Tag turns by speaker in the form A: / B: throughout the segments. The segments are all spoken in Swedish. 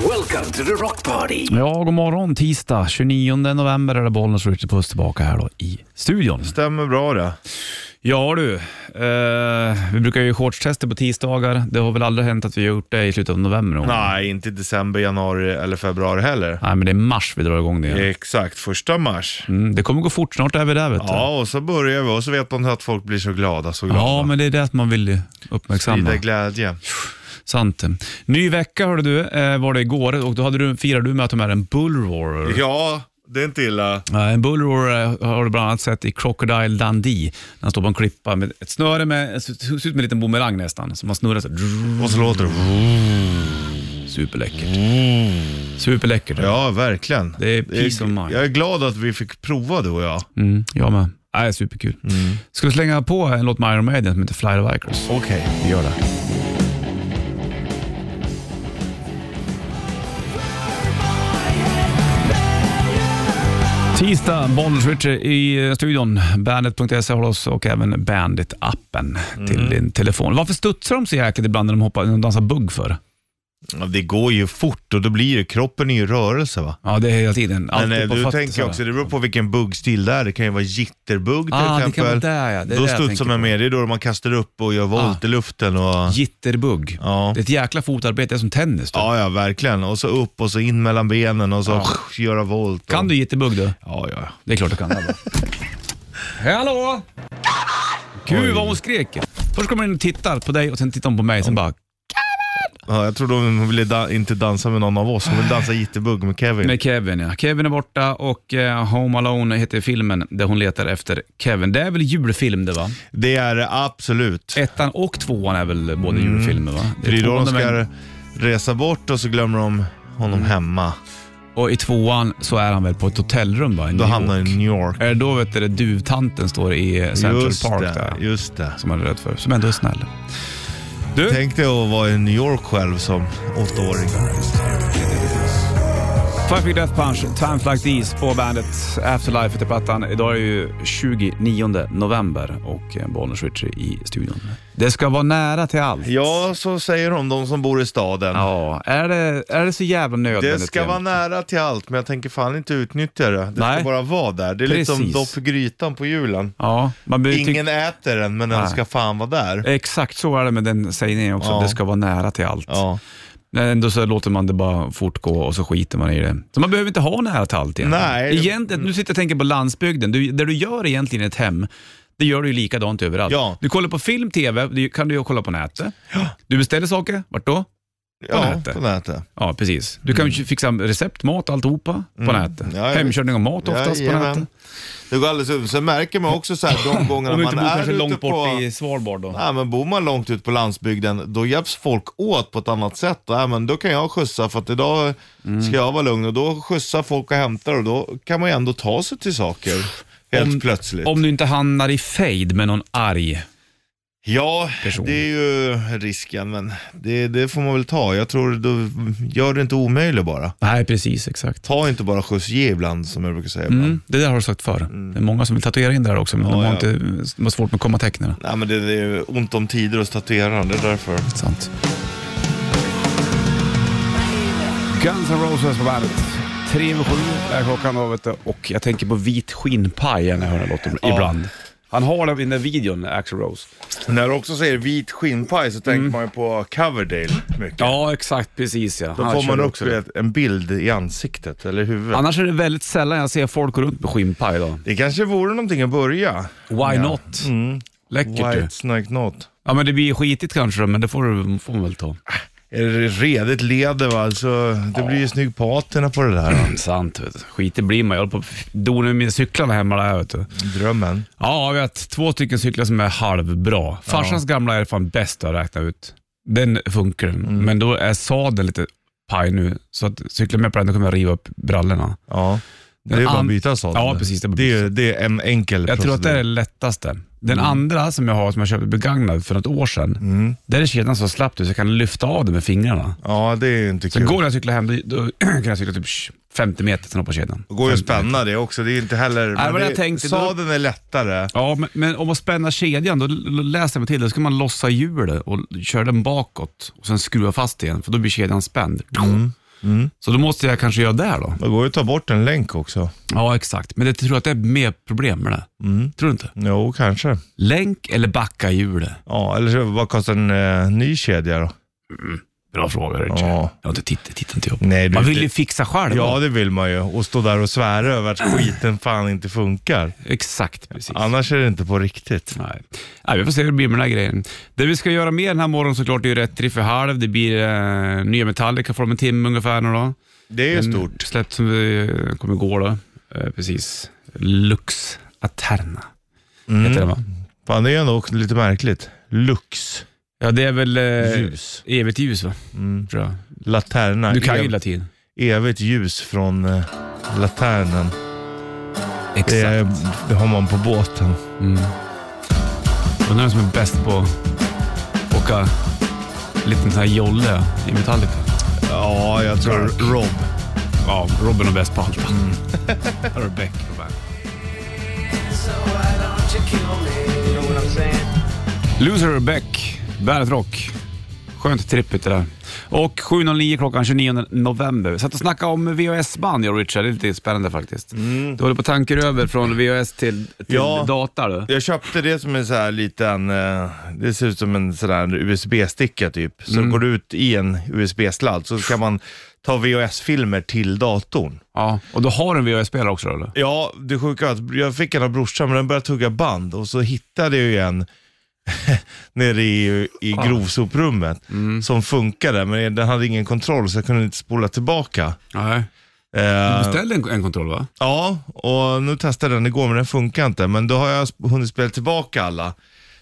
A: Welcome to the rock party.
B: Ja, god morgon. Tisdag 29 november är det Bollnäs och Richard Puss tillbaka här då i studion.
C: Stämmer bra det.
B: Ja du, eh, vi brukar ju shortstester på tisdagar. Det har väl aldrig hänt att vi har gjort det i slutet av november? någon gång?
C: Nej, inte i december, januari eller februari heller.
B: Nej, men det är mars vi drar igång det igen.
C: Exakt, första mars.
B: Mm, det kommer gå fort, snart är vi där vet du.
C: Ja, och så börjar vi och så vet man att folk blir så glada, så glada.
B: Ja, men det är det att man vill ju uppmärksamma.
C: Sprida glädje.
B: Sant. Ny vecka hörde du, eh, var det igår och då hade du, firade du med att de är en bullroarer.
C: Ja, det är inte illa.
B: Ja, Eh, En bullroarer har du bland annat sett i Crocodile Dundee. När han står på en klippa med ett snöre med, ser ut som en liten bumerang nästan, som man snurrar så här.
C: Och så låter det.
B: Superläckert. Superläckert.
C: Mm. Ja, verkligen.
B: Det är peace of mind.
C: Jag är glad att vi fick prova du och jag.
B: Mm, jag med. Nej, superkul.
C: Mm.
B: Ska vi slänga på en låt med Iron Maiden som heter Fly the Vikers?
C: Okej, vi gör det.
B: Tisdag, Bollnäs Richard i eh, studion. Bandit.se E håller oss och även Bandit-appen
C: Mm.
B: till din telefon. Varför studsar de så jäkligt ibland när de, hoppar, när de dansar bugg för?
C: Ja, Det går ju fort och då blir det, kroppen är ju i rörelse va.
B: Ja, det är hela tiden.
C: Men
B: Alltid
C: eh,
B: på
C: du
B: fötter
C: tänker
B: så här.
C: också, det beror på vilken buggstil det är. Det kan ju vara jitterbug till
B: Ah, det kan vara
C: exempel.
B: där ja. Det är
C: då
B: det jag
C: studsar
B: tänker
C: man
B: på. Ah.
C: med, det är då man kastar upp och gör volt i luften och...
B: Jitterbug.
C: Ja.
B: Det är ett jäkla fotarbete, det är som tennis. Du.
C: Ja, ja, verkligen. Och så upp och så in mellan benen och så göra volt.
B: Kan du jitterbug du?
C: Ja, ja.
B: Det är klart du kan. Alba. Hallå! Gud vad hon skrek. Först kommer hon in och tittar på dig och sen tittar hon på mig. Sen bara
C: ja. Jag tror de ville da- inte dansa med någon av oss. De vill dansa jitterbug med Kevin.
B: med Kevin. Ja. Kevin är borta och eh, Home Alone heter filmen där hon letar efter Kevin. Det är väl julfilm det va?
C: Det är det absolut.
B: Ettan och tvåan är väl båda
C: Mm.
B: julfilmer va?
C: För det är då de
B: tvåan de är-
C: ska resa bort och så glömmer de honom
B: Mm.
C: hemma.
B: Och i tvåan så är han väl på ett hotellrum va? i
C: Då
B: New
C: hamnar han
B: York.
C: i New York.
B: Är det då vet du, det duvtanten står i Central
C: Just
B: Park
C: det,
B: där?
C: just det.
B: Som han är rädd för, som ändå är snäll. Du,
C: Tänk dig att vara i New York själv som åttaåring.
B: Five Finger Death Punch, Times Like These på bandet. Afterlife heter plattan. Idag är ju 29 november och eh, Bollnäs Richie i studion. Det ska vara nära till allt.
C: Ja, så säger de, de som bor i staden.
B: Ja, är det, är det så jävla nödvändigt?
C: Det ska vara
B: egentligen?
C: nära till allt, men jag tänker fan inte utnyttja det. Det
B: Nej.
C: ska bara vara där. Det är lite som
B: Precis.
C: dopp i grytan på julen.
B: Ja, man blir
C: Ingen äter den, men den
B: Nej.
C: ska fan vara där.
B: Exakt så är det med den sägningen också,
C: Ja.
B: det ska vara nära till allt.
C: Ja.
B: Men ändå så låter man det bara fortgå och så skiter man i det. Så man behöver inte ha nära till allt egentligen.
C: Nej.
B: Egentligen, nu sitter jag och tänker på landsbygden. Du, där du gör egentligen ett hem, det gör du ju likadant överallt.
C: Ja.
B: Du kollar på film, TV, det kan du ju kolla på nätet. Du beställer saker, vart då?
C: Ja,
B: nätet.
C: på nätet.
B: Ja, precis. Du kan ju fixa recept, mat, alltihopa på nätet.
C: Mm. Ja, ja.
B: Hemkörning av mat oftast på
C: Jajamän.
B: nätet.
C: Det går alldeles ut. Sen märker man också så här, de gångerna
B: Om du
C: man
B: inte bor
C: är
B: kanske
C: ute
B: långt bort
C: på...
B: i Svalbard då.
C: Nej, men bor man långt ut på landsbygden, då hjälps folk åt på ett annat sätt. Nej, men då kan jag skjutsa för att idag
B: Mm.
C: ska jag vara lugn och då skjutsar folk och hämtar och då kan man ju ändå ta sig till saker helt plötsligt.
B: Om du inte hamnar i fejd med någon arg.
C: Ja,
B: person.
C: det är ju risken, men det, det får man väl ta. Jag tror, då, gör det inte omöjligt bara.
B: Nej, precis, exakt.
C: Ta inte bara skjuts, ge ibland som jag brukar säga ibland.
B: Mm, det där har du sagt förr. Det är många som vill tatuera in det där också, men de har
C: ja.
B: inte, de har svårt med kommatecknen.
C: Nej men det, det är ju ont om tider hos tatueraren, det är därför.
B: Sant. Guns N' Roses på bandet. Tre över sju är klockan då, vet du. och jag tänker på vit skinnpaj när jag hör den här låten ibland. Han har den i den där videon, Axl Rose.
C: När du också säger vit skinnpaj så tänker man ju på Coverdale mycket.
B: Mm. Ja, exakt precis ja.
C: Då
B: Han
C: får
B: kör
C: man
B: det
C: också ett, en bild i ansiktet eller i huvudet.
B: Annars är det väldigt sällan jag ser folk gå runt med skinnpaj då.
C: det kanske vore någonting att börja.
B: Why not? Läckert ju.
C: White Snake Knot.
B: Ja, men det blir skitigt kanske då, men det får, du- får man väl ta.
C: Är det redigt leder va, alltså, det blir ju snygg patina på det där.
B: Sant, vet du. skitig blir man. Jag håller på att dona med mina cyklar hemma där, vet du.
C: Drömmen.
B: Ja, jag vet. Två stycken cyklar som är halvbra. Farsans gamla är fan bäst att räkna ut. Den funkar,
C: Mm.
B: men då är sadeln lite paj nu. Så att cyklar med på den, då kommer jag riva upp brallorna.
C: Ja. Det är
B: Den
C: bara
B: an-
C: att byta sadel.
B: Ja, precis, det är bara
C: Det är, det är en enkel
B: Jag tror att det är det
C: procedur.
B: lättaste. Den
C: Mm.
B: andra som jag har, som jag köpte begagnad för något år sedan, där är kedjan så slapp ut så jag kan lyfta av den med fingrarna.
C: Ja, det är ju inte
B: Så
C: kul.
B: går när jag cyklar hem, då, då kan jag cykla typ 50 meter, sen hoppa kedjan.
C: Det går ju att spänna det också. Det är inte heller... men
B: vad
C: det,
B: jag tänkte, då-
C: sadeln är lättare.
B: Ja, men, men om man spänner kedjan, då l- l- läser jag mig till, då ska man
C: Mm.
B: lossa hjulet och köra den bakåt och sen skruva fast igen, för då blir kedjan spänd. Så då måste jag kanske göra det då.
C: Det går ju att ta bort en länk också.
B: Ja, exakt. Men jag tror att det är mer problem med det.
C: Mm.
B: Tror du inte?
C: Jo, kanske.
B: Länk eller backa hjulet?
C: Ja, eller så bara kasta en eh, ny kedja då.
B: Bra fråga Richie.
C: Ja.
B: Jag har inte tittat, tittat inte jag på.
C: Nej, du-
B: Man vill ju
C: det-
B: fixa själv.
C: Ja, det vill man ju. Och stå där och svära över att skiten fan inte funkar.
B: Exakt, precis.
C: Annars är det inte på riktigt.
B: Nej. Nej, vi får se hur det blir med den här grejen. Det vi ska göra mer den här morgonen såklart, det är ju rätt riff för halv. Det blir eh, nya Metallica får om en timme ungefär. Nu då.
C: Det är ju
B: En
C: stort.
B: Släpp som eh, kommer gå då. Eh, precis. Lux Aterna heter den va?
C: Mm. Fan, det är ju ändå också lite märkligt. Lux,
B: Ja, det är väl eh,
C: ljus, Mm.
B: evigt ljus va? Tror jag.
C: laterna.
B: Du kan ju
C: ev-
B: latin.
C: evigt ljus från eh, laternen. Det, är,
B: Exakt.
C: det har man på båten.
B: Undrar vem som är bäst på att åka liten sån här jolle i Metallica.
C: Ja, jag tror Rob.
B: Ja, Robin är bäst på allt.
C: Mm.
B: Här har du Beck på bandet.
D: So why don't you kill me? You know what I'm saying?
B: Loser Beck, Bandet Rock. Skönt trippigt det där. Och 7.09 klockan 29 november. Satt och snackade om VHS-band jag och Richard. Det är lite spännande faktiskt. Du håller på tanker över från VHS till, till
C: Mm. Ja.
B: data du.
C: Jag köpte det som en så här liten, eh, det ser ut som en sån här USB-sticka typ. Så går du ut i en USB-sladd så kan man ta VHS-filmer till datorn.
B: Ja. Och då har du en VHS-spelare också då, eller?
C: Ja, det sjuka var att jag fick en av brorsan men den började tugga band och så hittade jag ju en nere i, i grovsoprummet som funkade men den hade ingen kontroll så jag kunde inte spola tillbaka.
B: Nej.
C: Eh,
B: Du beställde en, en kontroll va?
C: Ja, och nu testade jag den igår men den funkar inte. Men då har jag sp- hunnit spela tillbaka alla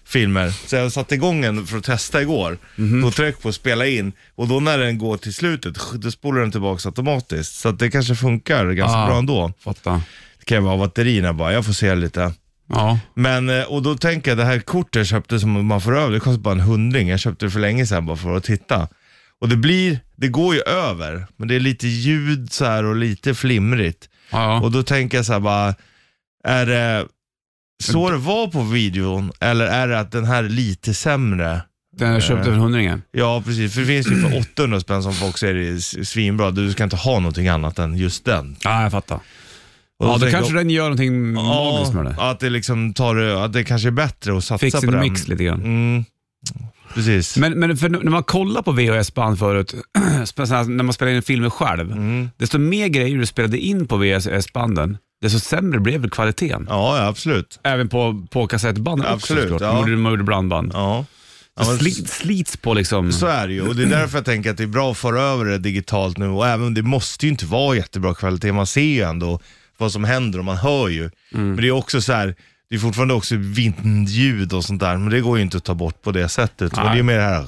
C: filmer. Så jag satte igång den för att testa igår. Då tryckte på spela in och då när den går till slutet, då spolar den tillbaka automatiskt. Så att det kanske funkar ganska
B: Ah.
C: bra ändå.
B: Fatta.
C: Det kan ju vara batterierna bara, jag får se lite.
B: Ja.
C: Men, eh, och då tänker jag det här kortet jag köpte som man får över, det kostar bara en hundring. Jag köpte det för länge sedan bara för att titta. Och det blir, det går ju över, men det är lite ljud så här och lite flimrigt.
B: Ja, ja.
C: Och då tänker jag så här bara, är det så det var på videon eller är det att den här är lite sämre?
B: Den jag
C: Eh.
B: köpte för hundringen.
C: Ja precis, för det finns ju för 800 spänn som folk säger är s- svinbra, du ska inte ha någonting annat än just den.
B: Ja, jag fattar.
C: Och
B: ja, då
C: tänker
B: kanske
C: jag,
B: den gör någonting magiskt med det.
C: Ja, att det liksom tar, det- att det kanske är bättre att satsa
B: Fix
C: på
B: en
C: den.
B: mix lite grann.
C: Mm, precis.
B: Men, men för när man kollar på VHS-band förut, spe- så här, när man spelar in filmer själv,
C: Mm.
B: desto mer grejer du spelade in på VHS-banden, desto sämre blev väl kvaliteten.
C: Ja, ja, absolut.
B: Även på, på kassettbanden
C: Absolut,
B: också
C: ja.
B: Man gjorde- Man gjorde blandband.
C: Ja.
B: Det
C: Ja, men-
B: sli, slits på liksom...
C: Så är det ju och det är därför jag tänker att det är bra att föra över det digitalt nu och även det måste ju inte vara jättebra kvalitet. Man ser ju ändå vad som händer och man hör ju. Men det är också så här, det är fortfarande också vindljud och sånt där men det går ju inte att ta bort på det sättet. Och
B: Nej.
C: det är mer det här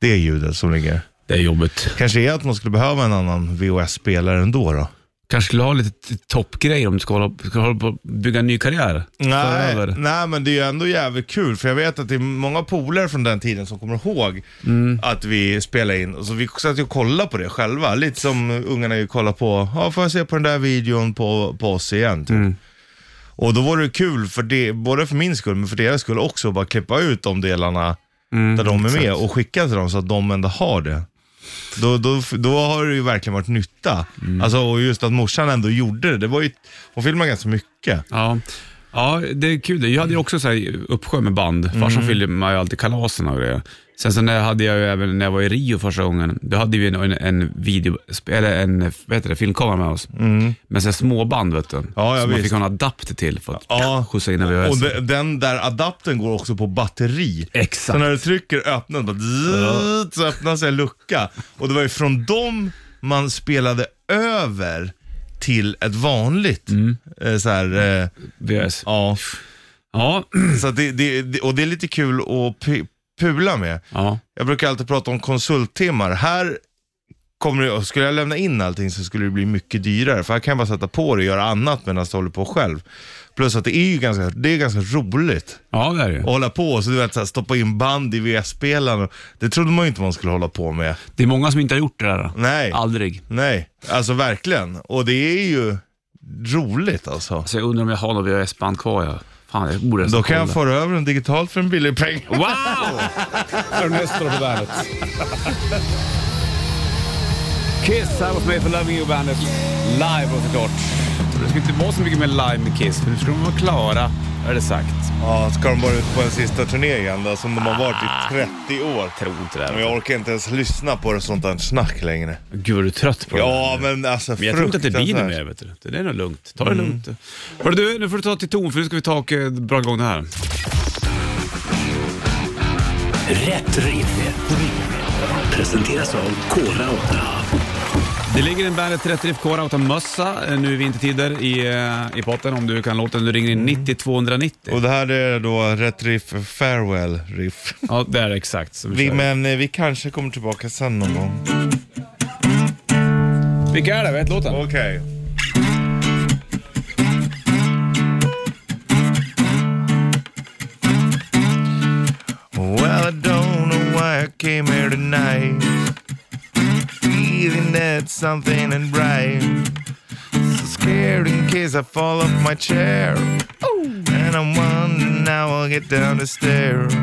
C: det ljudet som ligger.
B: Det är jobbigt.
C: Kanske är att man skulle behöva en annan VHS-spelare ändå då?
B: Kanske skulle ha lite t- toppgrejer om du ska hålla, ska hålla på och bygga en ny karriär. Föra
C: Nej,
B: över.
C: nej, men det är ju ändå jävligt kul för jag vet att det är många polare från den tiden som kommer ihåg att vi spelade in. Och så vi satt ju och kollade på det själva, lite som ungarna ju kollar på, ja får jag se på den där videon på, på oss igen typ. Och då var det kul, för det, både för min skull men för deras skull också, att bara klippa ut de delarna där de är med och skicka till dem så att de ändå har det. Då, då, då har det ju verkligen varit nytta. Alltså, och just att morsan ändå gjorde det, det var ju, hon filmade ganska mycket.
B: Ja. ja, det är kul. det. Jag hade ju också så här uppsjö med band. Farsan
C: Mm.
B: filmade ju alltid kalasen och grejer. Sen så när jag hade jag ju även när jag var i Rio första gången, då hade vi en, en, en video, eller en vad heter det, filmkamera med oss. Med så här småband vet du.
C: Mm. ja,
B: Som man
C: visst.
B: fick ha en adapter till för att
C: Ja.
B: skjutsa in en VHS.
C: Och de, den där adaptern går också på batteri. Så
B: Exakt.
C: när du trycker öppna den bara zzzt, så öppnas en lucka. Och det var ju från dem man spelade över till ett vanligt. Eh, så här, eh,
B: VHS.
C: ja.
B: Ja.
C: så att det, det, det, och det är lite kul att pu- pula med.
B: ja.
C: Jag brukar alltid prata om konsulttimmar. Här kommer det, skulle jag lämna in allting så skulle det bli mycket dyrare. För här kan jag bara sätta på det och göra annat medan jag håller på själv. Plus att det är ju ganska, det är ganska roligt.
B: Ja, det är det ju.
C: och hålla på. Så du vet, så här, stoppa in band i VS-spelaren. Det trodde man ju inte man skulle hålla på med.
B: Det är många som inte har gjort det där.
C: Nej,
B: Aldrig.
C: nej. Alltså verkligen. Och det är ju roligt alltså.
B: Så jag undrar om jag har något VHS-band kvar. Jag. Fan, jag borde
C: Då
B: nästan
C: kan jag
B: kolla.
C: föra över den digitalt för en billig peng.
B: Wow! Ernesto på bandet. Kiss här hos mig för Loving You Bandet. Live och såklart. Jag trodde Det skulle inte vara så mycket mer live med Kiss, för nu skulle de vara klara, är det sagt.
C: Ja, ska de bara ut på en sista turné igen då, som de har varit i 30 år.
B: Tror inte det.
C: Men
B: Här.
C: jag orkar inte ens lyssna på det sånt där snack längre.
B: Gud, vad du är trött på det.
C: Ja, men alltså
B: Men jag tror inte att det blir något
C: fruktansvärt.
B: mer. Vet du. Det är nog lugnt. Ta det lugnt. Hörru du, nu får du ta till ton för nu ska vi ta och eh, dra igång det här.
A: Rätt riff. Presenteras av Kora 8.
B: Det ligger en Bandet 30 FK Rauta-mössa eh, nu i vintertider i, eh, i potten om du kan låten. Du ringer in 90 290.
C: Och det här är då Rätt Riff Farewell Riff.
B: Ja, det är det exakt. Så vi
C: Vi,
B: kör.
C: men eh, vi kanske kommer tillbaka sen någon gång.
B: Vilka är det? Vad heter låten?
C: Okej. Well, I don't know why I came here tonight. Feeling that something ain't right. So scared in case I fall off my chair. And I'm wondering how I'll get down the stairs.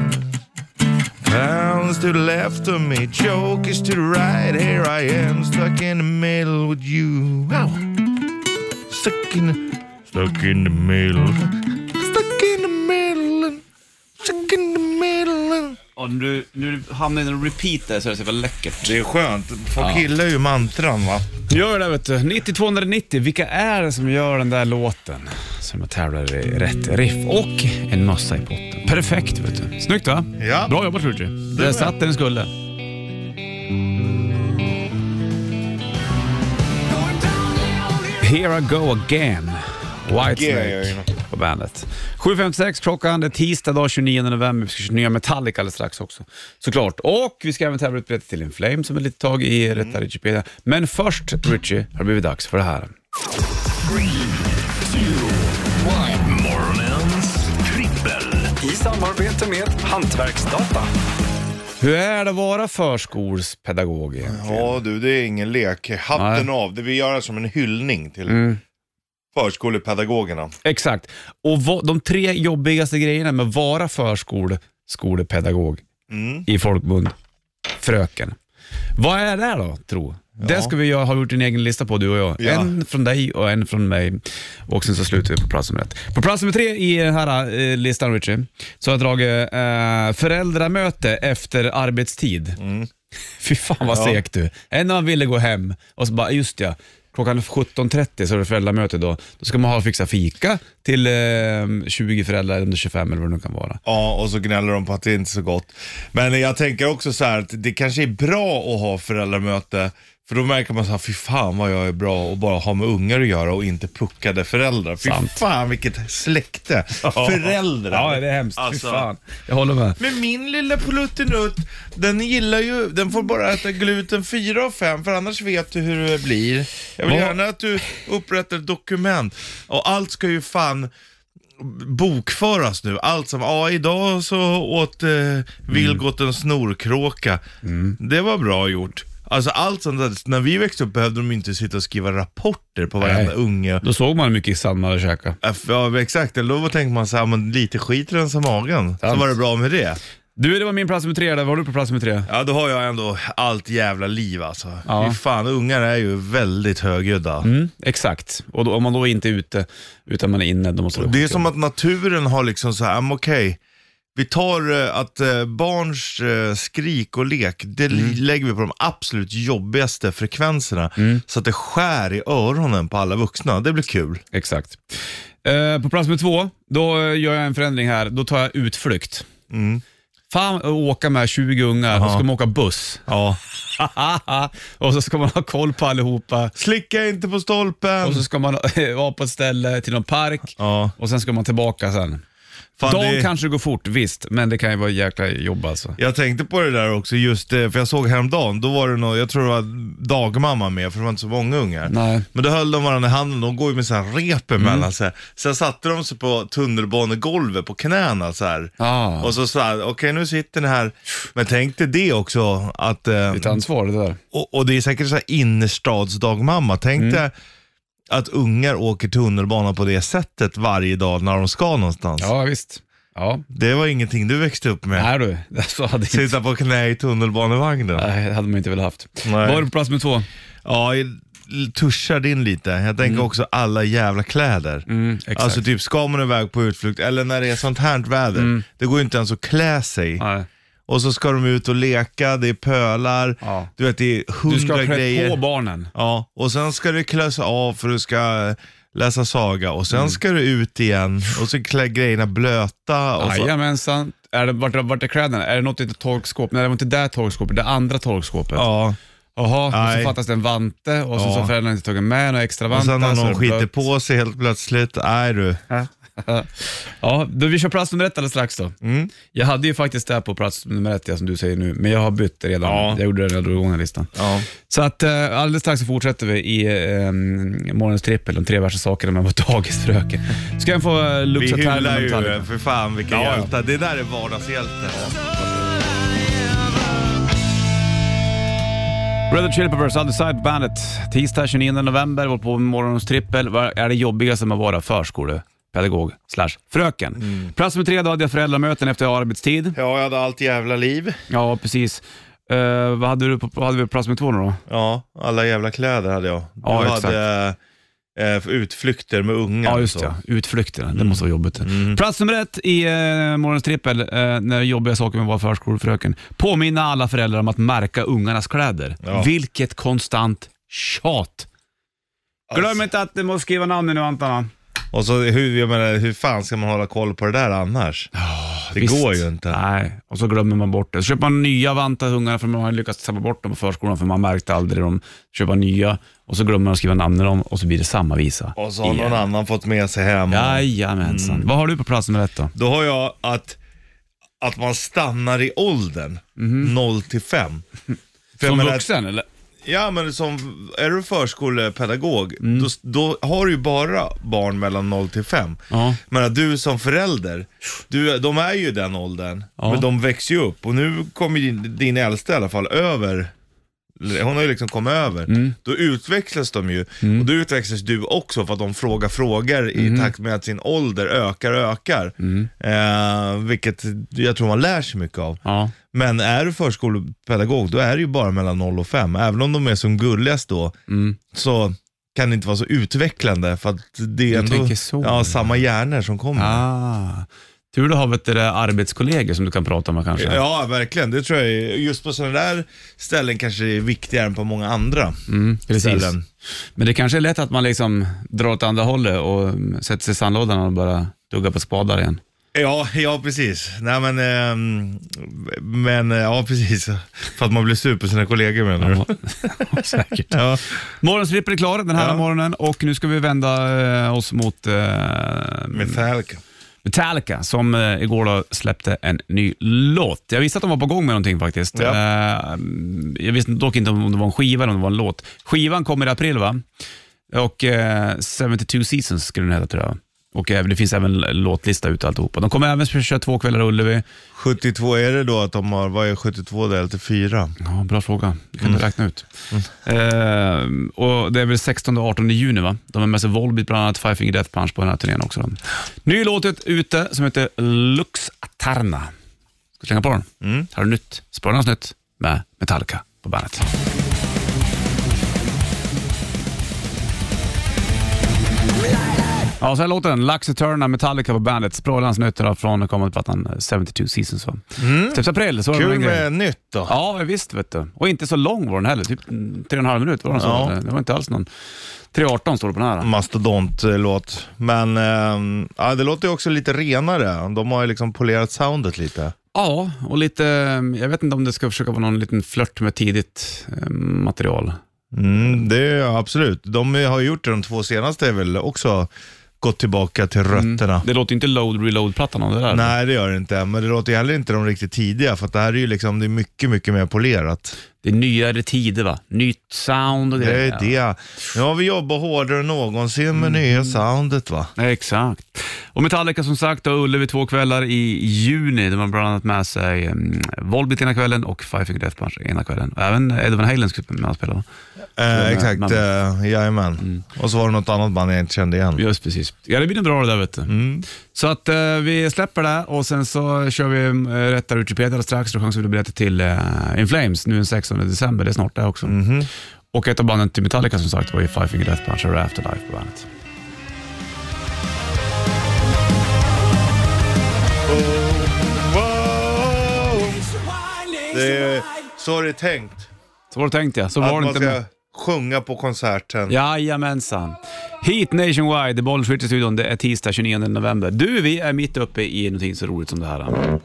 C: Pounds to the left of me, jokers to the right. Here I am, stuck in the middle with you. Ow. Stuck in the, stuck in the middle. Stuck in the middle. and- Stuck in the middle. and-
B: Om du, nu hamnar i en repeat där så är det så jävla läckert.
C: Det är skönt. Folk gillar ju mantran va?
B: Gör det vet du. 90 290. Vilka är det som gör den där låten? Som jag tävlar i rätt riff och en mössa i potten. Perfekt vet du. Snyggt va?
C: Ja.
B: Bra jobbat Ritchie. Där satt den skulle. Here I go again. Whitesnake
C: Again.
B: på bandet. 7.56 klockan, det är tisdag dag 29 november. Vi ska köra nya Metallica alldeles strax också. Såklart. Och vi ska även tävla ut biljetter till Inflame som är lite tag i Rätta Wikipedia. Men först Richie, har det blivit dags för det här.
A: Morgonens trippel.
E: I samarbete med Hantverksdata.
B: Hur är det att vara förskolspedagog egentligen?
C: Ja du, det är ingen lek. Hatten av. Det vi gör är som en hyllning till förskolepedagogerna.
B: Exakt. Och vad, de tre jobbigaste grejerna med att vara förskolepedagog i folkmun, fröken. Vad är det då, tro? Det ska vi göra, har vi gjort en egen lista på, du och jag.
C: Ja.
B: En från dig och en från mig. Och sen så slutar vi på plats nummer ett. På plats nummer tre i den här eh, listan, Richie, så har jag dragit eh, föräldramöte efter arbetstid. Fy fan vad segt du. Än när man ville gå hem och så bara, "Ah, just ja, klockan 17.30 så är det föräldramöte då. Då ska man ha fixa fika till eh, 20 föräldrar under 25 eller vad det nu kan vara.
C: Ja, och så gnäller de på att det inte är så gott. Men jag tänker också så här att det kanske är bra att ha föräldramöte. För då märker man så här, fy fan vad jag är bra och bara ha med ungar att göra och inte puckade föräldrar. Fy
B: Sant.
C: fan vilket släkte. Föräldrar.
B: Ja, det är hemskt.
C: Alltså.
B: Fy fan. Jag håller med.
C: Men min lilla pluttenutt, den gillar ju, den får bara äta gluten 4 av 5 för annars vet du hur det blir. Jag vill
B: Vad-
C: gärna att du upprättar ett dokument. Och allt ska ju fan bokföras nu. Allt som, ja idag så åt eh, Vilgot en snorkråka.
B: Mm.
C: Det var bra gjort. Alltså allt sånt där, när vi växte upp behövde de inte sitta och skriva rapporter på varenda
B: Nej.
C: unge. Äh,
B: Då såg man hur mycket sand man hade käkat.
C: Ja exakt, eller då tänkte man så här, men lite skit rensar magen. Så
B: Sant.
C: var det bra med det.
B: Du, det var min plats nummer tre. Där. Vad har du på plats nummer tre?
C: Ja, då har jag ändå allt jävla liv alltså.
B: Ja.
C: Fy fan, ungar är ju väldigt högljudda.
B: Mm, exakt. Och då, om man då inte är ute, utan man är inne, då måste
C: Det är som att naturen har liksom så här, "Mm, okej, vi tar eh, att eh, barns eh, skrik och lek, det
B: Mm.
C: li- lägger vi på de absolut jobbigaste frekvenserna.
B: Mm.
C: Så att det skär i öronen på alla vuxna. Det blir kul.
B: Exakt. Eh, på plats nummer två, då eh, gör jag en förändring här. Då tar jag utflykt.
C: Mm.
B: Fan att åka med 20 ungar, då ska man åka buss.
C: Ja.
B: och så ska man ha koll på allihopa.
C: Slicka inte på stolpen.
B: Och så ska man eh, vara på ett ställe till någon park
C: Ja.
B: och sen ska man tillbaka sen.
C: Fan,
B: De
C: det-
B: kanske går fort, visst, men det kan ju vara jäkla jobb alltså.
C: Jag tänkte på det där också, just eh, för jag såg häromdagen, då var det någon, jag tror det var dagmamma med, för det var inte så många ungar.
B: Nej.
C: Men då höll de varandra i handen, de går ju med så här rep
B: Mm.
C: emellan så här. Sen satte de sig på tunnelbanegolvet på knäna så här.
B: Ah.
C: Och så så här, okej nu sitter ni här. Men tänk dig det också, att, eh,
B: Ditt ansvar det där.
C: och, och det är säkert så här innerstadsdagmamma. Tänk
B: Mm.
C: dig att ungar åker tunnelbana på det sättet varje dag när de ska någonstans.
B: Ja, visst. Ja.
C: Det var ingenting du växte upp med.
B: Nej du, så hade, inte,
C: Sitta på knä i tunnelbanevagnen.
B: nej, hade man inte velat haft.
C: Nej. Alltså,
B: Vad har du på plats med två?
C: Ja, i- tuschar din lite. Jag tänker
B: Mm.
C: också alla jävla kläder.
B: exakt.
C: alltså typ ska man iväg på utflykt eller när det är sånt här väder. Det går ju inte ens att klä sig.
B: Mm. Nej.
C: Och så ska de ut och leka, det är pölar,
B: Ja.
C: du vet det är
B: Du ska
C: hundra
B: klä
C: grejer.
B: på barnen.
C: Ja, och sen ska du klä sig av för du ska läsa saga och
B: Mm.
C: sen ska du ut igen och så klä grejerna blöta. Och så.
B: Jajamensan. Är det, vart, vart är kläderna? Är det något i ett torkskåp? Nej, det var inte det torkskåpet, det andra torkskåpet.
C: Ja,
B: Jaha, och
C: Nej.
B: så fattas det en vante och sen
C: Ja.
B: så har föräldrarna inte tagit med några extra vantar.
C: och sen när
B: så är
C: någon
B: det
C: skiter
B: blött.
C: på sig helt plötsligt, nej du.
B: Ja, då, vi kör plats nummer ett alldeles strax då.
C: Mm.
B: Jag hade ju faktiskt det här på plats nummer ett, ja, som du säger nu, men jag har bytt redan.
C: Ja.
B: Jag gjorde det när jag drog igång den här listan.
C: Ja.
B: Så att eh, alldeles strax så fortsätter vi i eh, morgonens trippel, de tre värsta sakerna man var dagisfröken. Ska jag få eh,
C: Vi
B: Luxa Tärnen
C: hyllar
B: och
C: ju,
B: Metallica?
C: för fan vilken
B: Ja, ja.
C: hjälte. Det där är vardagshjälte.
B: Red Hot Chili Peppers, Other Side Bandet. Tisdag 29 november, vår på med morgonens trippel. Vad är det jobbigaste med att vara förskolepedagog slash fröken?
C: Mm.
B: Plats nummer tre, då hade jag föräldramöten efter arbetstid.
C: Ja, jag hade allt jävla liv.
B: Ja, precis. Eh, vad hade du på vad hade vi på plats nummer två nu då?
C: Ja, alla jävla kläder hade jag. Du
B: Ja, exakt.
C: hade eh, utflykter med ungar alltså.
B: Ja,
C: och
B: just
C: så. Mm.
B: det. Utflykterna. Det måste vara jobbigt. Plats nummer ett i eh, morgonens trippel, eh, när jobbiga saker med att vara förskolefröken. Påminna alla föräldrar om att märka ungarnas kläder.
C: Ja.
B: Vilket konstant tjat. Glöm inte att du måste skriva namnen nu Antarna.
C: Alltså, Och så hur, jag menar, hur fan ska man hålla koll på det där annars? det
B: Visst.
C: går ju inte.
B: Nej, och så glömmer man bort det. Så köper man nya vantar till ungarna för man har lyckats tappa bort dem på förskolan för man märkte aldrig dem. Köpa nya och så glömmer man att skriva namnen om och så blir det samma visa.
C: Och så har
B: igen.
C: någon annan fått med sig hem.
B: Jajamensan.
C: Mm.
B: Vad har du på plats nummer ett då?
C: Då har jag att, att man stannar i åldern
B: Mhm.
C: 0 till 5. För jag
B: Som
C: menar-
B: vuxen eller?
C: Ja, men som, är du förskolepedagog,
B: Mm.
C: då, då har du ju bara barn mellan 0 till 5.
B: Ja.
C: Men att du som förälder, du, de är ju i den åldern,
B: Ja.
C: men de växer ju upp. Och nu kommer din, din äldsta i alla fall över, hon har ju liksom kommit över. Då utvecklas de ju, och då utvecklas du också för att de frågar frågor i takt med att sin ålder ökar och ökar. Eh, vilket jag tror man lär sig mycket av.
B: Ja.
C: Men är du förskolepedagog, då är det ju bara mellan 0 och 5. Även om de är som gulligast då,
B: Mm.
C: så kan det inte vara så utvecklande för att det är ändå
B: tänker så.
C: ja, samma hjärnor som kommer.
B: Ah. Tur du har vet du, det, arbetskollegor som du kan prata med kanske.
C: Ja, verkligen. Det tror jag är, just på sådana där ställen kanske det är viktigare än på många andra
B: Mm, precis.
C: ställen.
B: Men det kanske är lätt att man liksom drar åt andra hållet och mm, sätter sig i sandlådan och bara duggar på spadar igen.
C: Ja, ja precis. Nej men, ehm, men eh, ja precis. För att man blir sur på sina kollegor menar du?
B: Säkert.
C: Ja.
B: Morgonens trippel är klar den här
C: Ja.
B: morgonen och nu ska vi vända eh, oss mot eh,
C: Metallica.
B: Metallica som eh, igår då släppte en ny låt. Jag visste att de var på gång med någonting faktiskt.
C: Ja.
B: Eh, jag visste dock inte om det var en skiva eller om det var en låt. Skivan kommer i april va? Och eh, 72 Seasons skulle den heta tror jag. Och eh, det finns även låtlista ute alltihopa. De kommer även köra två kvällar i Ullevi.
C: 72 är det då att de har, vad är 72 delat till 4?
B: Ja, bra fråga. Det kan
C: Mm.
B: du räkna ut. Eh, och det är väl 16 och 18 juni va? De har med sig Volbeat bland annat, Five Finger Death Punch på den här turnén också. Då. Ny låt ut- ute som heter Lux Aterna. Ska du slänga på den?
C: Mm.
B: Här har du nytt. Spännande nytt med Metallica på bandet. Ja, så här låter den. Lux Eterna, Metallica på bandet. Språlans nytt idag från kommande plattan eh, 72 Seasons. va? Släpps april. Så var det
C: Mm. Kul
B: en grej.
C: med nytt då.
B: Ja, visst vet du. Och inte så lång var den heller. Typ mm, tre och en halv minut var den så.
C: Ja. Mm.
B: Det var inte alls någon... 3.18 står det på den här.
C: mastodontlåt. Men eh, ja, det låter ju också lite renare. De har ju liksom polerat soundet lite.
B: Ja, och lite... eh, Jag vet inte om det ska försöka vara någon liten flört med tidigt eh, material.
C: Mm, det är ja, absolut. De har ju gjort det, de två senaste är väl också gått tillbaka till rötterna.
B: Det låter ju inte load reload-plattan om det där.
C: Nej, det Mm. gör det inte. Men det låter ju heller inte de riktigt tidiga, för att det här är ju liksom, det är mycket, mycket mer polerat.
B: Det är nyare tider va? Nytt sound och
C: Det Mm.
B: grejer.
C: är det. Nu har vi jobbat hårdare än någonsin med nya soundet va?
B: Ja, Exakt. Och Metallica som sagt och Ullevi två kvällar i juni. De har bland annat med sig um, Volbeat ena kvällen och Five Finger Death Punch ena kvällen. Och Även Ed Van Halen skulle med och spela. va?
C: Eh, exakt,
B: men-
C: Mm. eh, jajamän. Och så var det något annat band jag inte kände igen. Mm.
B: Just precis. Ja, det blir nog bra det där vet du. Så att eh, vi släpper det och sen så kör vi eh, rätta ut till Peter strax. Då chansar vi biljetter till eh, In Flames nu den 16 december. Det är snart det också.
C: Mhm.
B: Och ett av banden till Metallica som sagt var ju Five Finger Death Punch och Afterlife på bandet.
C: Wow! Det är, så har det tänkt.
B: Så var det tänkt jag. Så
C: Att
B: var det
C: man
B: inte
C: ska
B: med.
C: sjunga på konserten.
B: Jajamensan. Heat Nationwide, Bollswitch i studion. Det är tisdag 29 november. Du, vi är mitt uppe i någonting så roligt som det här.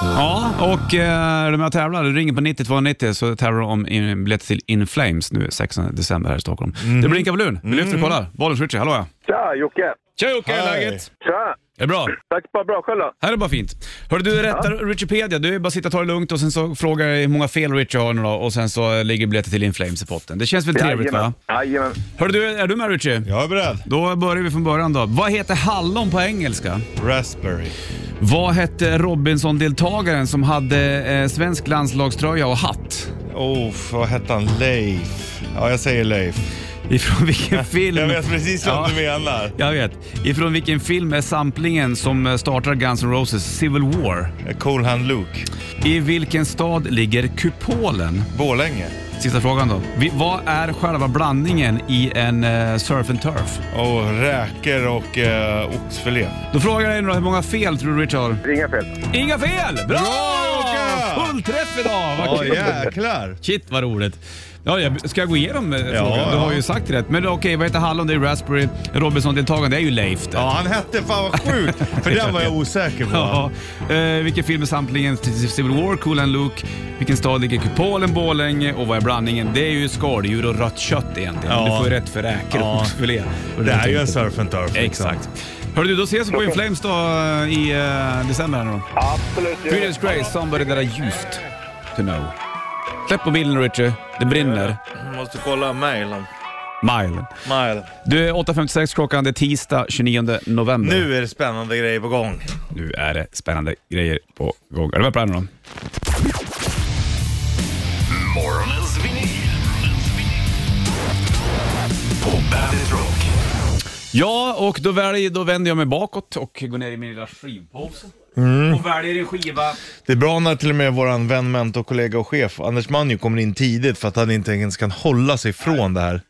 B: Ja, och eh, de här tävlar. Du ringer på 9290 så tävlar de om in- biljetter till In Flames nu 16 december här i Stockholm. Det blinkar på luren. Vi lyfter och kollar. Bollswitch, hallå ja.
F: Tja, Jocke!
B: Tja Jocke, hur är
C: Hej.
B: läget?
F: Tja!
B: Är det bra?
F: Tack, bara bra. Själv då?
B: Här är bara fint. Hörru du, rättar Richipedia. Du är bara att sitta och ta det lugnt och sen så frågar jag hur många fel Richie har nu då och sen så ligger biljetter till In Flames i potten. Det känns väl trevligt va?
F: Jajamän.
B: Hörru du, är du med Richie?
C: Jag är beredd.
B: Då börjar vi från början då. Vad heter hallon på engelska?
C: Raspberry.
B: Vad hette Robinson-deltagaren som hade eh, svensk landslagströja och hatt?
C: Oh, vad hette han? Leif. Ja, jag säger Leif.
B: Ifrån vilken film?
C: Jag vet precis vad
B: Ja.
C: du menar.
B: Jag vet. Ifrån vilken film är samplingen som eh, startar Guns N' Roses Civil War?
C: Cool Hand Luke.
B: I vilken stad ligger Kupolen?
C: Borlänge.
B: Sista frågan då. Vi, vad är själva blandningen i en eh, surf and turf?
C: Och räkor och eh, oxfilé.
B: Då frågar jag dig nu då, hur många fel tror du Richard har?
F: Inga fel.
B: Inga fel! Bra!
C: Jocke!
B: Full träff idag! Vad
C: Ja,
B: kul!
C: jäklar.
B: Shit vad roligt. Ja, jag, ska jag gå igenom eh, frågan?
C: ja.
B: Du har ju sagt rätt. Men okej, vad heter hallon? Det är Raspberry. Robinson-deltagaren, det är ju Leif det.
C: Ja, han hette fan vad sjukt. För den var jag osäker på.
B: Ja. Eh, vilken film är samplingen till Civil War, Cool and Luke? Vilken stad ligger kupolen, Borlänge? Och vad är blandningen? Det är ju skaldjur och rött kött egentligen.
C: Ja.
B: Du får ju rätt för räkor och
C: Ja.
B: oxfilé.
C: Det är ju en surf and turf. liksom.
B: Exakt. Hörru du, då ses vi på In Flames då eh, i eh, december här nu då.
F: Absolut. gör det.
B: Greetings Grace, somebody that I used to know. Släpp på bilen Richie, det brinner.
C: Måste kolla mailen.
B: Mile.
C: Mile.
B: Du är 8.56 klockan, det är tisdag 29 november.
C: Nu är det spännande grejer på gång.
B: Nu är det spännande grejer på gång. Är du med på det här nu då?
A: Morgonens vinyl. På Bandit Rock.
B: Ja, och då, väljer, då vänder jag mig bakåt och går ner i min lilla skivpåse.
C: Mm.
B: Och väljer en skiva.
C: Det är bra när till och med våran vän, mentor, kollega och chef Anders Manju kommer in tidigt för att han inte ens kan hålla sig från det här.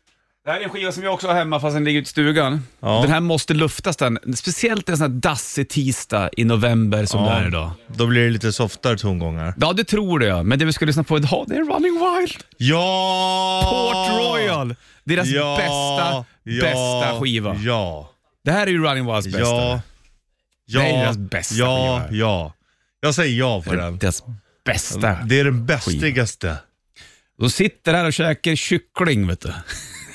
B: Det här är en skiva som jag också har hemma fast den ligger ute i stugan.
C: Ja.
B: Den här måste luftas den. Speciellt en sån här dassig tisdag i november som det är idag.
C: Då blir det lite softare tongångar.
B: Ja, det tror jag. Men det vi ska lyssna på idag, det är Running Wild.
C: Ja!
B: Port Royal. Deras bästa, bästa skiva.
C: Ja,
B: Det här är ju Running Wilds bästa.
C: ja, ja.
B: Det är deras bästa
C: Ja,
B: skiva.
C: ja. Jag säger ja på
B: Det är
C: den.
B: Deras bästa.
C: Det är den bästigaste.
B: De sitter här och käkar kyckling, vet du.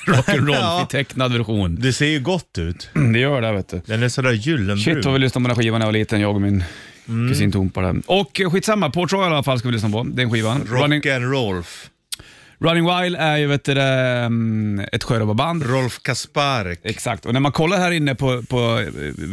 B: Rock'n'roll
C: Ja.
B: i tecknad version.
C: Det ser ju gott ut.
B: Det gör det, vet du.
C: Den är sådär
B: Shit vad vi
C: gyllenbrun.
B: lyssnade på den här skivan när jag var liten, jag och min
C: Mm.
B: kusin Tompa. där. Och eh, skitsamma, Port Royal i alla fall ska vi lyssna på. Den skivan. Running,
C: Rock and Rolf.
B: Running Wild är ju vet du, det, mm, ett sjörobbarband.
C: Rolf Kasparek.
B: Exakt, och när man kollar här inne på, på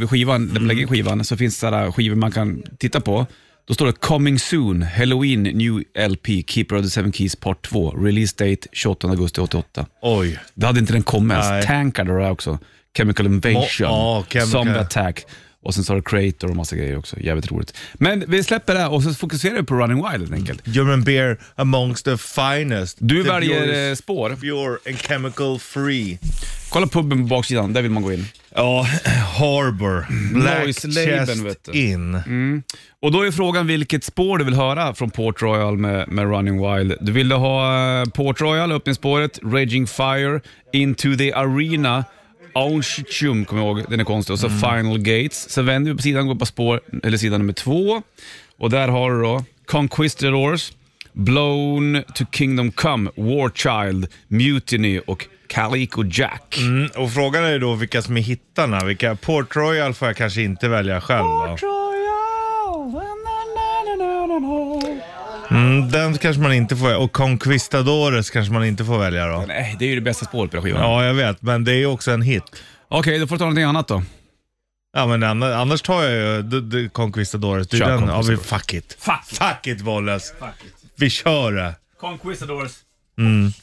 B: eh, skivan,
C: Mm.
B: där man lägger in skivan, så finns det sådana skivor man kan titta på. Då står det “Coming Soon, Halloween New LP, Keeper of the Seven Keys Part 2, Release Date 28 augusti 88”.
C: Oj.
B: Då hade inte den kommit ens.
C: Nej.
B: Tankar det där också. Chemical Invasion,
C: Ja, ja, Chemical.
B: Zombie Attack och sen så har du Creator och massa grejer också. Jävligt roligt. Men vi släpper det här och så fokuserar vi på Running Wild helt enkelt.
C: German beer amongst the finest.
B: Du
C: the
B: väljer eh,
C: purest,
B: spår.
C: pure and chemical free.
B: Kolla puben på baksidan, där vill man gå in.
C: Ja, Harbor. Black
B: Noise labeln, vet
C: Chest
B: du.
C: In.
B: Och då är frågan vilket spår du vill höra från Port Royal med, med Running Wild. Du ville ha eh, Port Royal, öppningsspåret, Raging Fire, Into the Arena, Aunchum, kommer jag ihåg, den är konstig, och så
C: Mm.
B: Final Gates. Sen vänder vi på sidan och går på spår, eller sida nummer två. Och där har du då Conquistadors, Blown to Kingdom Come, War Child, Mutiny och Calico Jack.
C: Mm, och frågan är ju då vilka som är hittarna. Vilka, Port Royal får jag kanske inte välja själv. va? Mm, den kanske man inte får Och Conquistadores kanske man inte får välja då.
B: Nej, det är ju det bästa spåret på den här skivan.
C: Ja, jag vet, men det är ju också en hit.
B: Okej, då får du ta någonting annat då.
C: Ja, men anna- annars tar jag ju d- d- Conquistadores. Det är
B: Kör
C: den. Ja, vi,
B: Conquistadores.
C: fuck it.
B: Fuck!
C: Fuck it, Wallace. Vi kör det.
B: Conquistadors.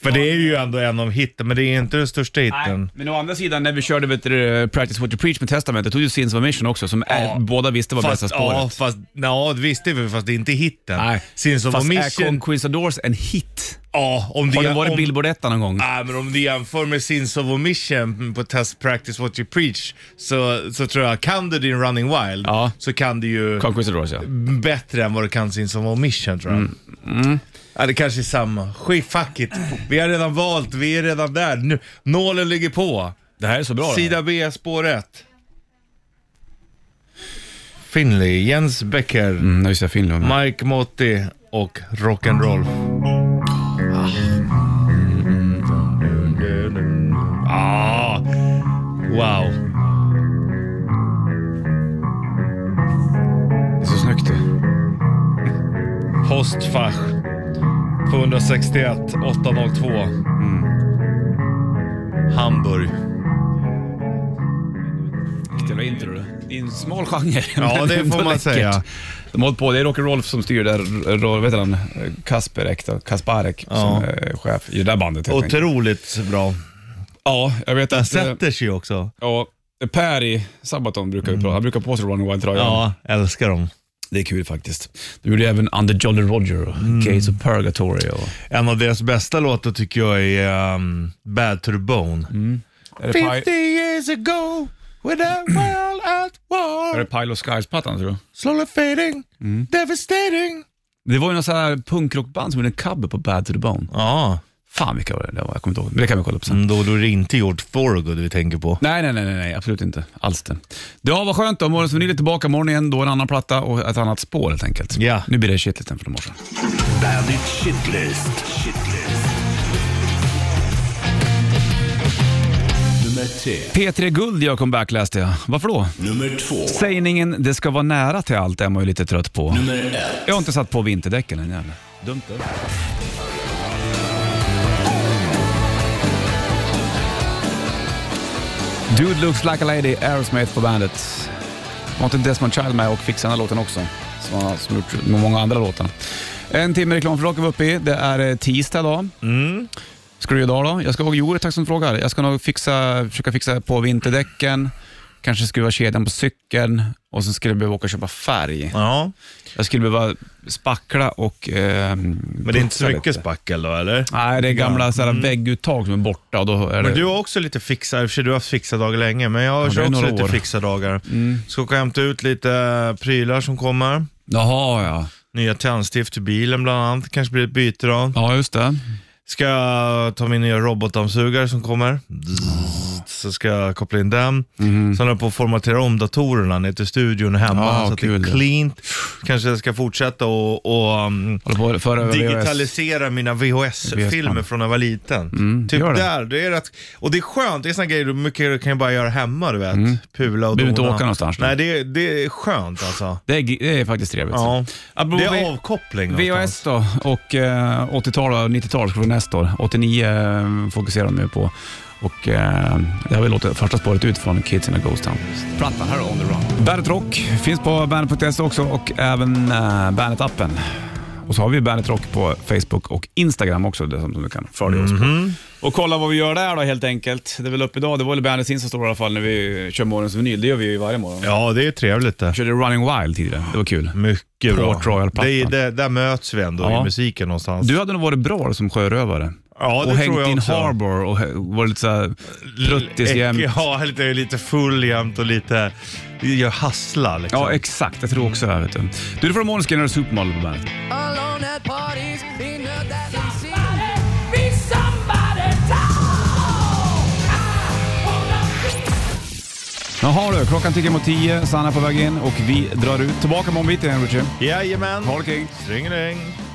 C: För det är ju ändå en av hitten, men det är inte den största hitten.
B: Nej, men å andra sidan när vi körde vet du, Practice What You Preach med Testament, det tog ju Sins of a Mission också som är, båda visste var bästa
C: Fast, ja,
B: spåret.
C: fast, ja, det visste vi, fast det är inte hitten.
B: Nej.
C: Sins of a
B: Fast är
C: Mission,
B: Conquist Doors en hit?
C: ja, om det
B: Har den
C: om,
B: varit Billboard-etta någon gång?
C: Nej, men om du jämför med Sins of a Mission på Test Practice What You Preach så, så tror jag, kan du din Running Wild
B: Ja.
C: så kan du ju
B: Conquist Doors ja.
C: bättre än vad du kan Sins of a Mission tror jag.
B: Mm.
C: Ja, det kanske är samma. Skit, fuck it. Vi har redan valt, vi är redan där. Nu, nålen ligger på.
B: Det här är så bra.
C: Sida B, spår 1. Finley, Jens Becker,
B: Mm, nu visar Finland.
C: Mike Motti och Rock'n'Roll. Mm. Ah. Wow.
B: Det är så snyggt det.
C: Postfach 261 802. Hamburg.
B: Jävla intro du. Det är en smal genre.
C: Ja,
B: men
C: det
B: ändå
C: får man
B: läckert.
C: säga.
B: De har hållit på, det är Rock'n'Rolf som styr där, Ro- vad heter han, Kasperek då, Kasparek som är chef i det där bandet helt enkelt.
C: Otroligt bra.
B: Ja, jag vet
C: Den
B: att... eh,
C: sätter sig ju också.
B: Ja, Per i Sabaton brukar vi prata han brukar på sig Running Wild-tröjan.
C: Ja, älskar dem.
B: Det är kul faktiskt. Du gjorde även Under Jolly Roger och Gates of Purgatory. Och,
C: En av deras bästa låtar tycker jag är um, Bad to the Bone.
B: är, Mm, det
C: 50
B: Pi-
C: years ago with the world at
B: är det Mm.
C: war
B: Pile of Skies-plattan tror du?
C: Slowly fading, devastating
B: Det var ju något sån här punkrockband som gjorde en cover på Bad to the Bone.
C: Ja,
B: Fan vilka var det? det var, jag kommer inte ihåg. Men det kan vi kolla upp sen.
C: men då, då är det inte George Thorogood vi tänker på.
B: Nej, nej, nej, nej, nej, absolut inte. Alls det. Ja, vad skönt då. Morgonens vinyl är tillbaka imorgon igen. Då en annan platta och ett annat spår helt enkelt.
C: Ja.
B: Nu blir det shitlisten från i morse.
A: Bandit Shitlist. Shitlist. Nummer tre.
B: P3 Guld gör comeback läste jag. Varför då?
A: Nummer två.
B: Sägningen det ska vara nära till allt är man ju lite trött på.
A: Nummer ett.
B: Jag har inte satt på vinterdäcken än jävlar. Dumt det. Dude looks like a lady, Aerosmith på bandet. Var inte Desmond Child med och fixade den här låten också? Som han har som gjort med många andra låtar. En timme reklam för rock är vi uppe i. Det är eh, tisdag idag. Ska du göra idag då? Jag ska, jo, tack som frågar. Jag ska nog fixa, försöka fixa på vinterdäcken, kanske skruva kedjan på cykeln och sen skulle jag behöva åka och köpa färg.
C: Ja,
B: Jag skulle behöva spackla och... ehm,
C: men det är inte så
B: putsa
C: mycket
B: lite.
C: spackel då eller?
B: Nej, det är gamla såhär, vägguttag som är borta och då är
C: Men
B: det...
C: du har också lite fixa, i och för sig du har haft fixa dagar länge, men jag
B: det
C: kör
B: är
C: också
B: några
C: lite
B: år. Mm.
C: fixa dagar. Ska åka och hämta ut lite prylar som kommer.
B: Jaha, ja.
C: Nya tändstift till bilen bland annat, kanske blir ett byte då.
B: Ja, just det.
C: Ska jag ta min nya robotdammsugare som kommer. Så ska jag koppla in den. Sen håller jag på att formatera om datorerna ner till studion hemma
B: Mhm. Ja,
C: så att
B: kul.
C: det är cleant. Kanske jag ska fortsätta och, och um,
B: Håller på för över VHS.
C: digitalisera mina VHS-filmer
B: VHS-band.
C: från när jag var liten. typ
B: Mm, gör det.
C: där. Det är rätt, och det är skönt, det är såna grejer du mycket kan jag bara göra hemma du vet. Pula och
B: Mm. Behöver inte
C: dona.
B: åka någonstans nu.
C: Nej, det, är- det är skönt alltså.
B: Det är, det är faktiskt trevligt.
C: Ja.
B: Apropå
C: Det
B: V-
C: är avkoppling alltså. någonstans.
B: VHS då och eh, 80-tal och 90-tal ska vi nästa år. 89 eh, fokuserar de nu på. Och eh, jag vill låta första spåret ut från Kids in a Ghost Town. Plattan här On the Run. Bandet Rock finns på bandet.se också och även eh, Bandet-appen. Och så har vi Bandet Rock på Facebook och Instagram också, det som som du kan följa oss på. Och kolla vad vi gör där då helt enkelt. Det är väl upp idag, det var väl Bandets Insta Store i alla fall när vi kör morgonens vinyl. Det gör vi ju varje morgon.
C: Ja, det är trevligt det.
B: Vi körde Running Wild tidigare, det var kul.
C: Mycket bra.
B: Port Royal-plattan.
C: Det, är- det, där möts vi ändå
B: Ja.
C: i musiken någonstans.
B: Du hade nog varit bra som sjörövare.
C: ja, det
B: och hängt
C: tror jag
B: in
C: också.
B: Harbour och hä- varit lite såhär pruttis
C: Äck-
B: jämt.
C: Ja, lite, lite full jämt och lite... Jag hasslar liksom.
B: Ja, exakt. Jag tror också det. här, Vet du. du, det får Måneskin och Supermodel på bandet.
G: Alone at parties, they know that they see.
H: Be somebody Ah,
B: Jaha du, klockan tickar mot tio. Sanna är på väg in och vi drar ut. Tillbaka imorgon bitti igen, Richie.
C: Jajamän.
B: Ha det kring.
C: Ringeling.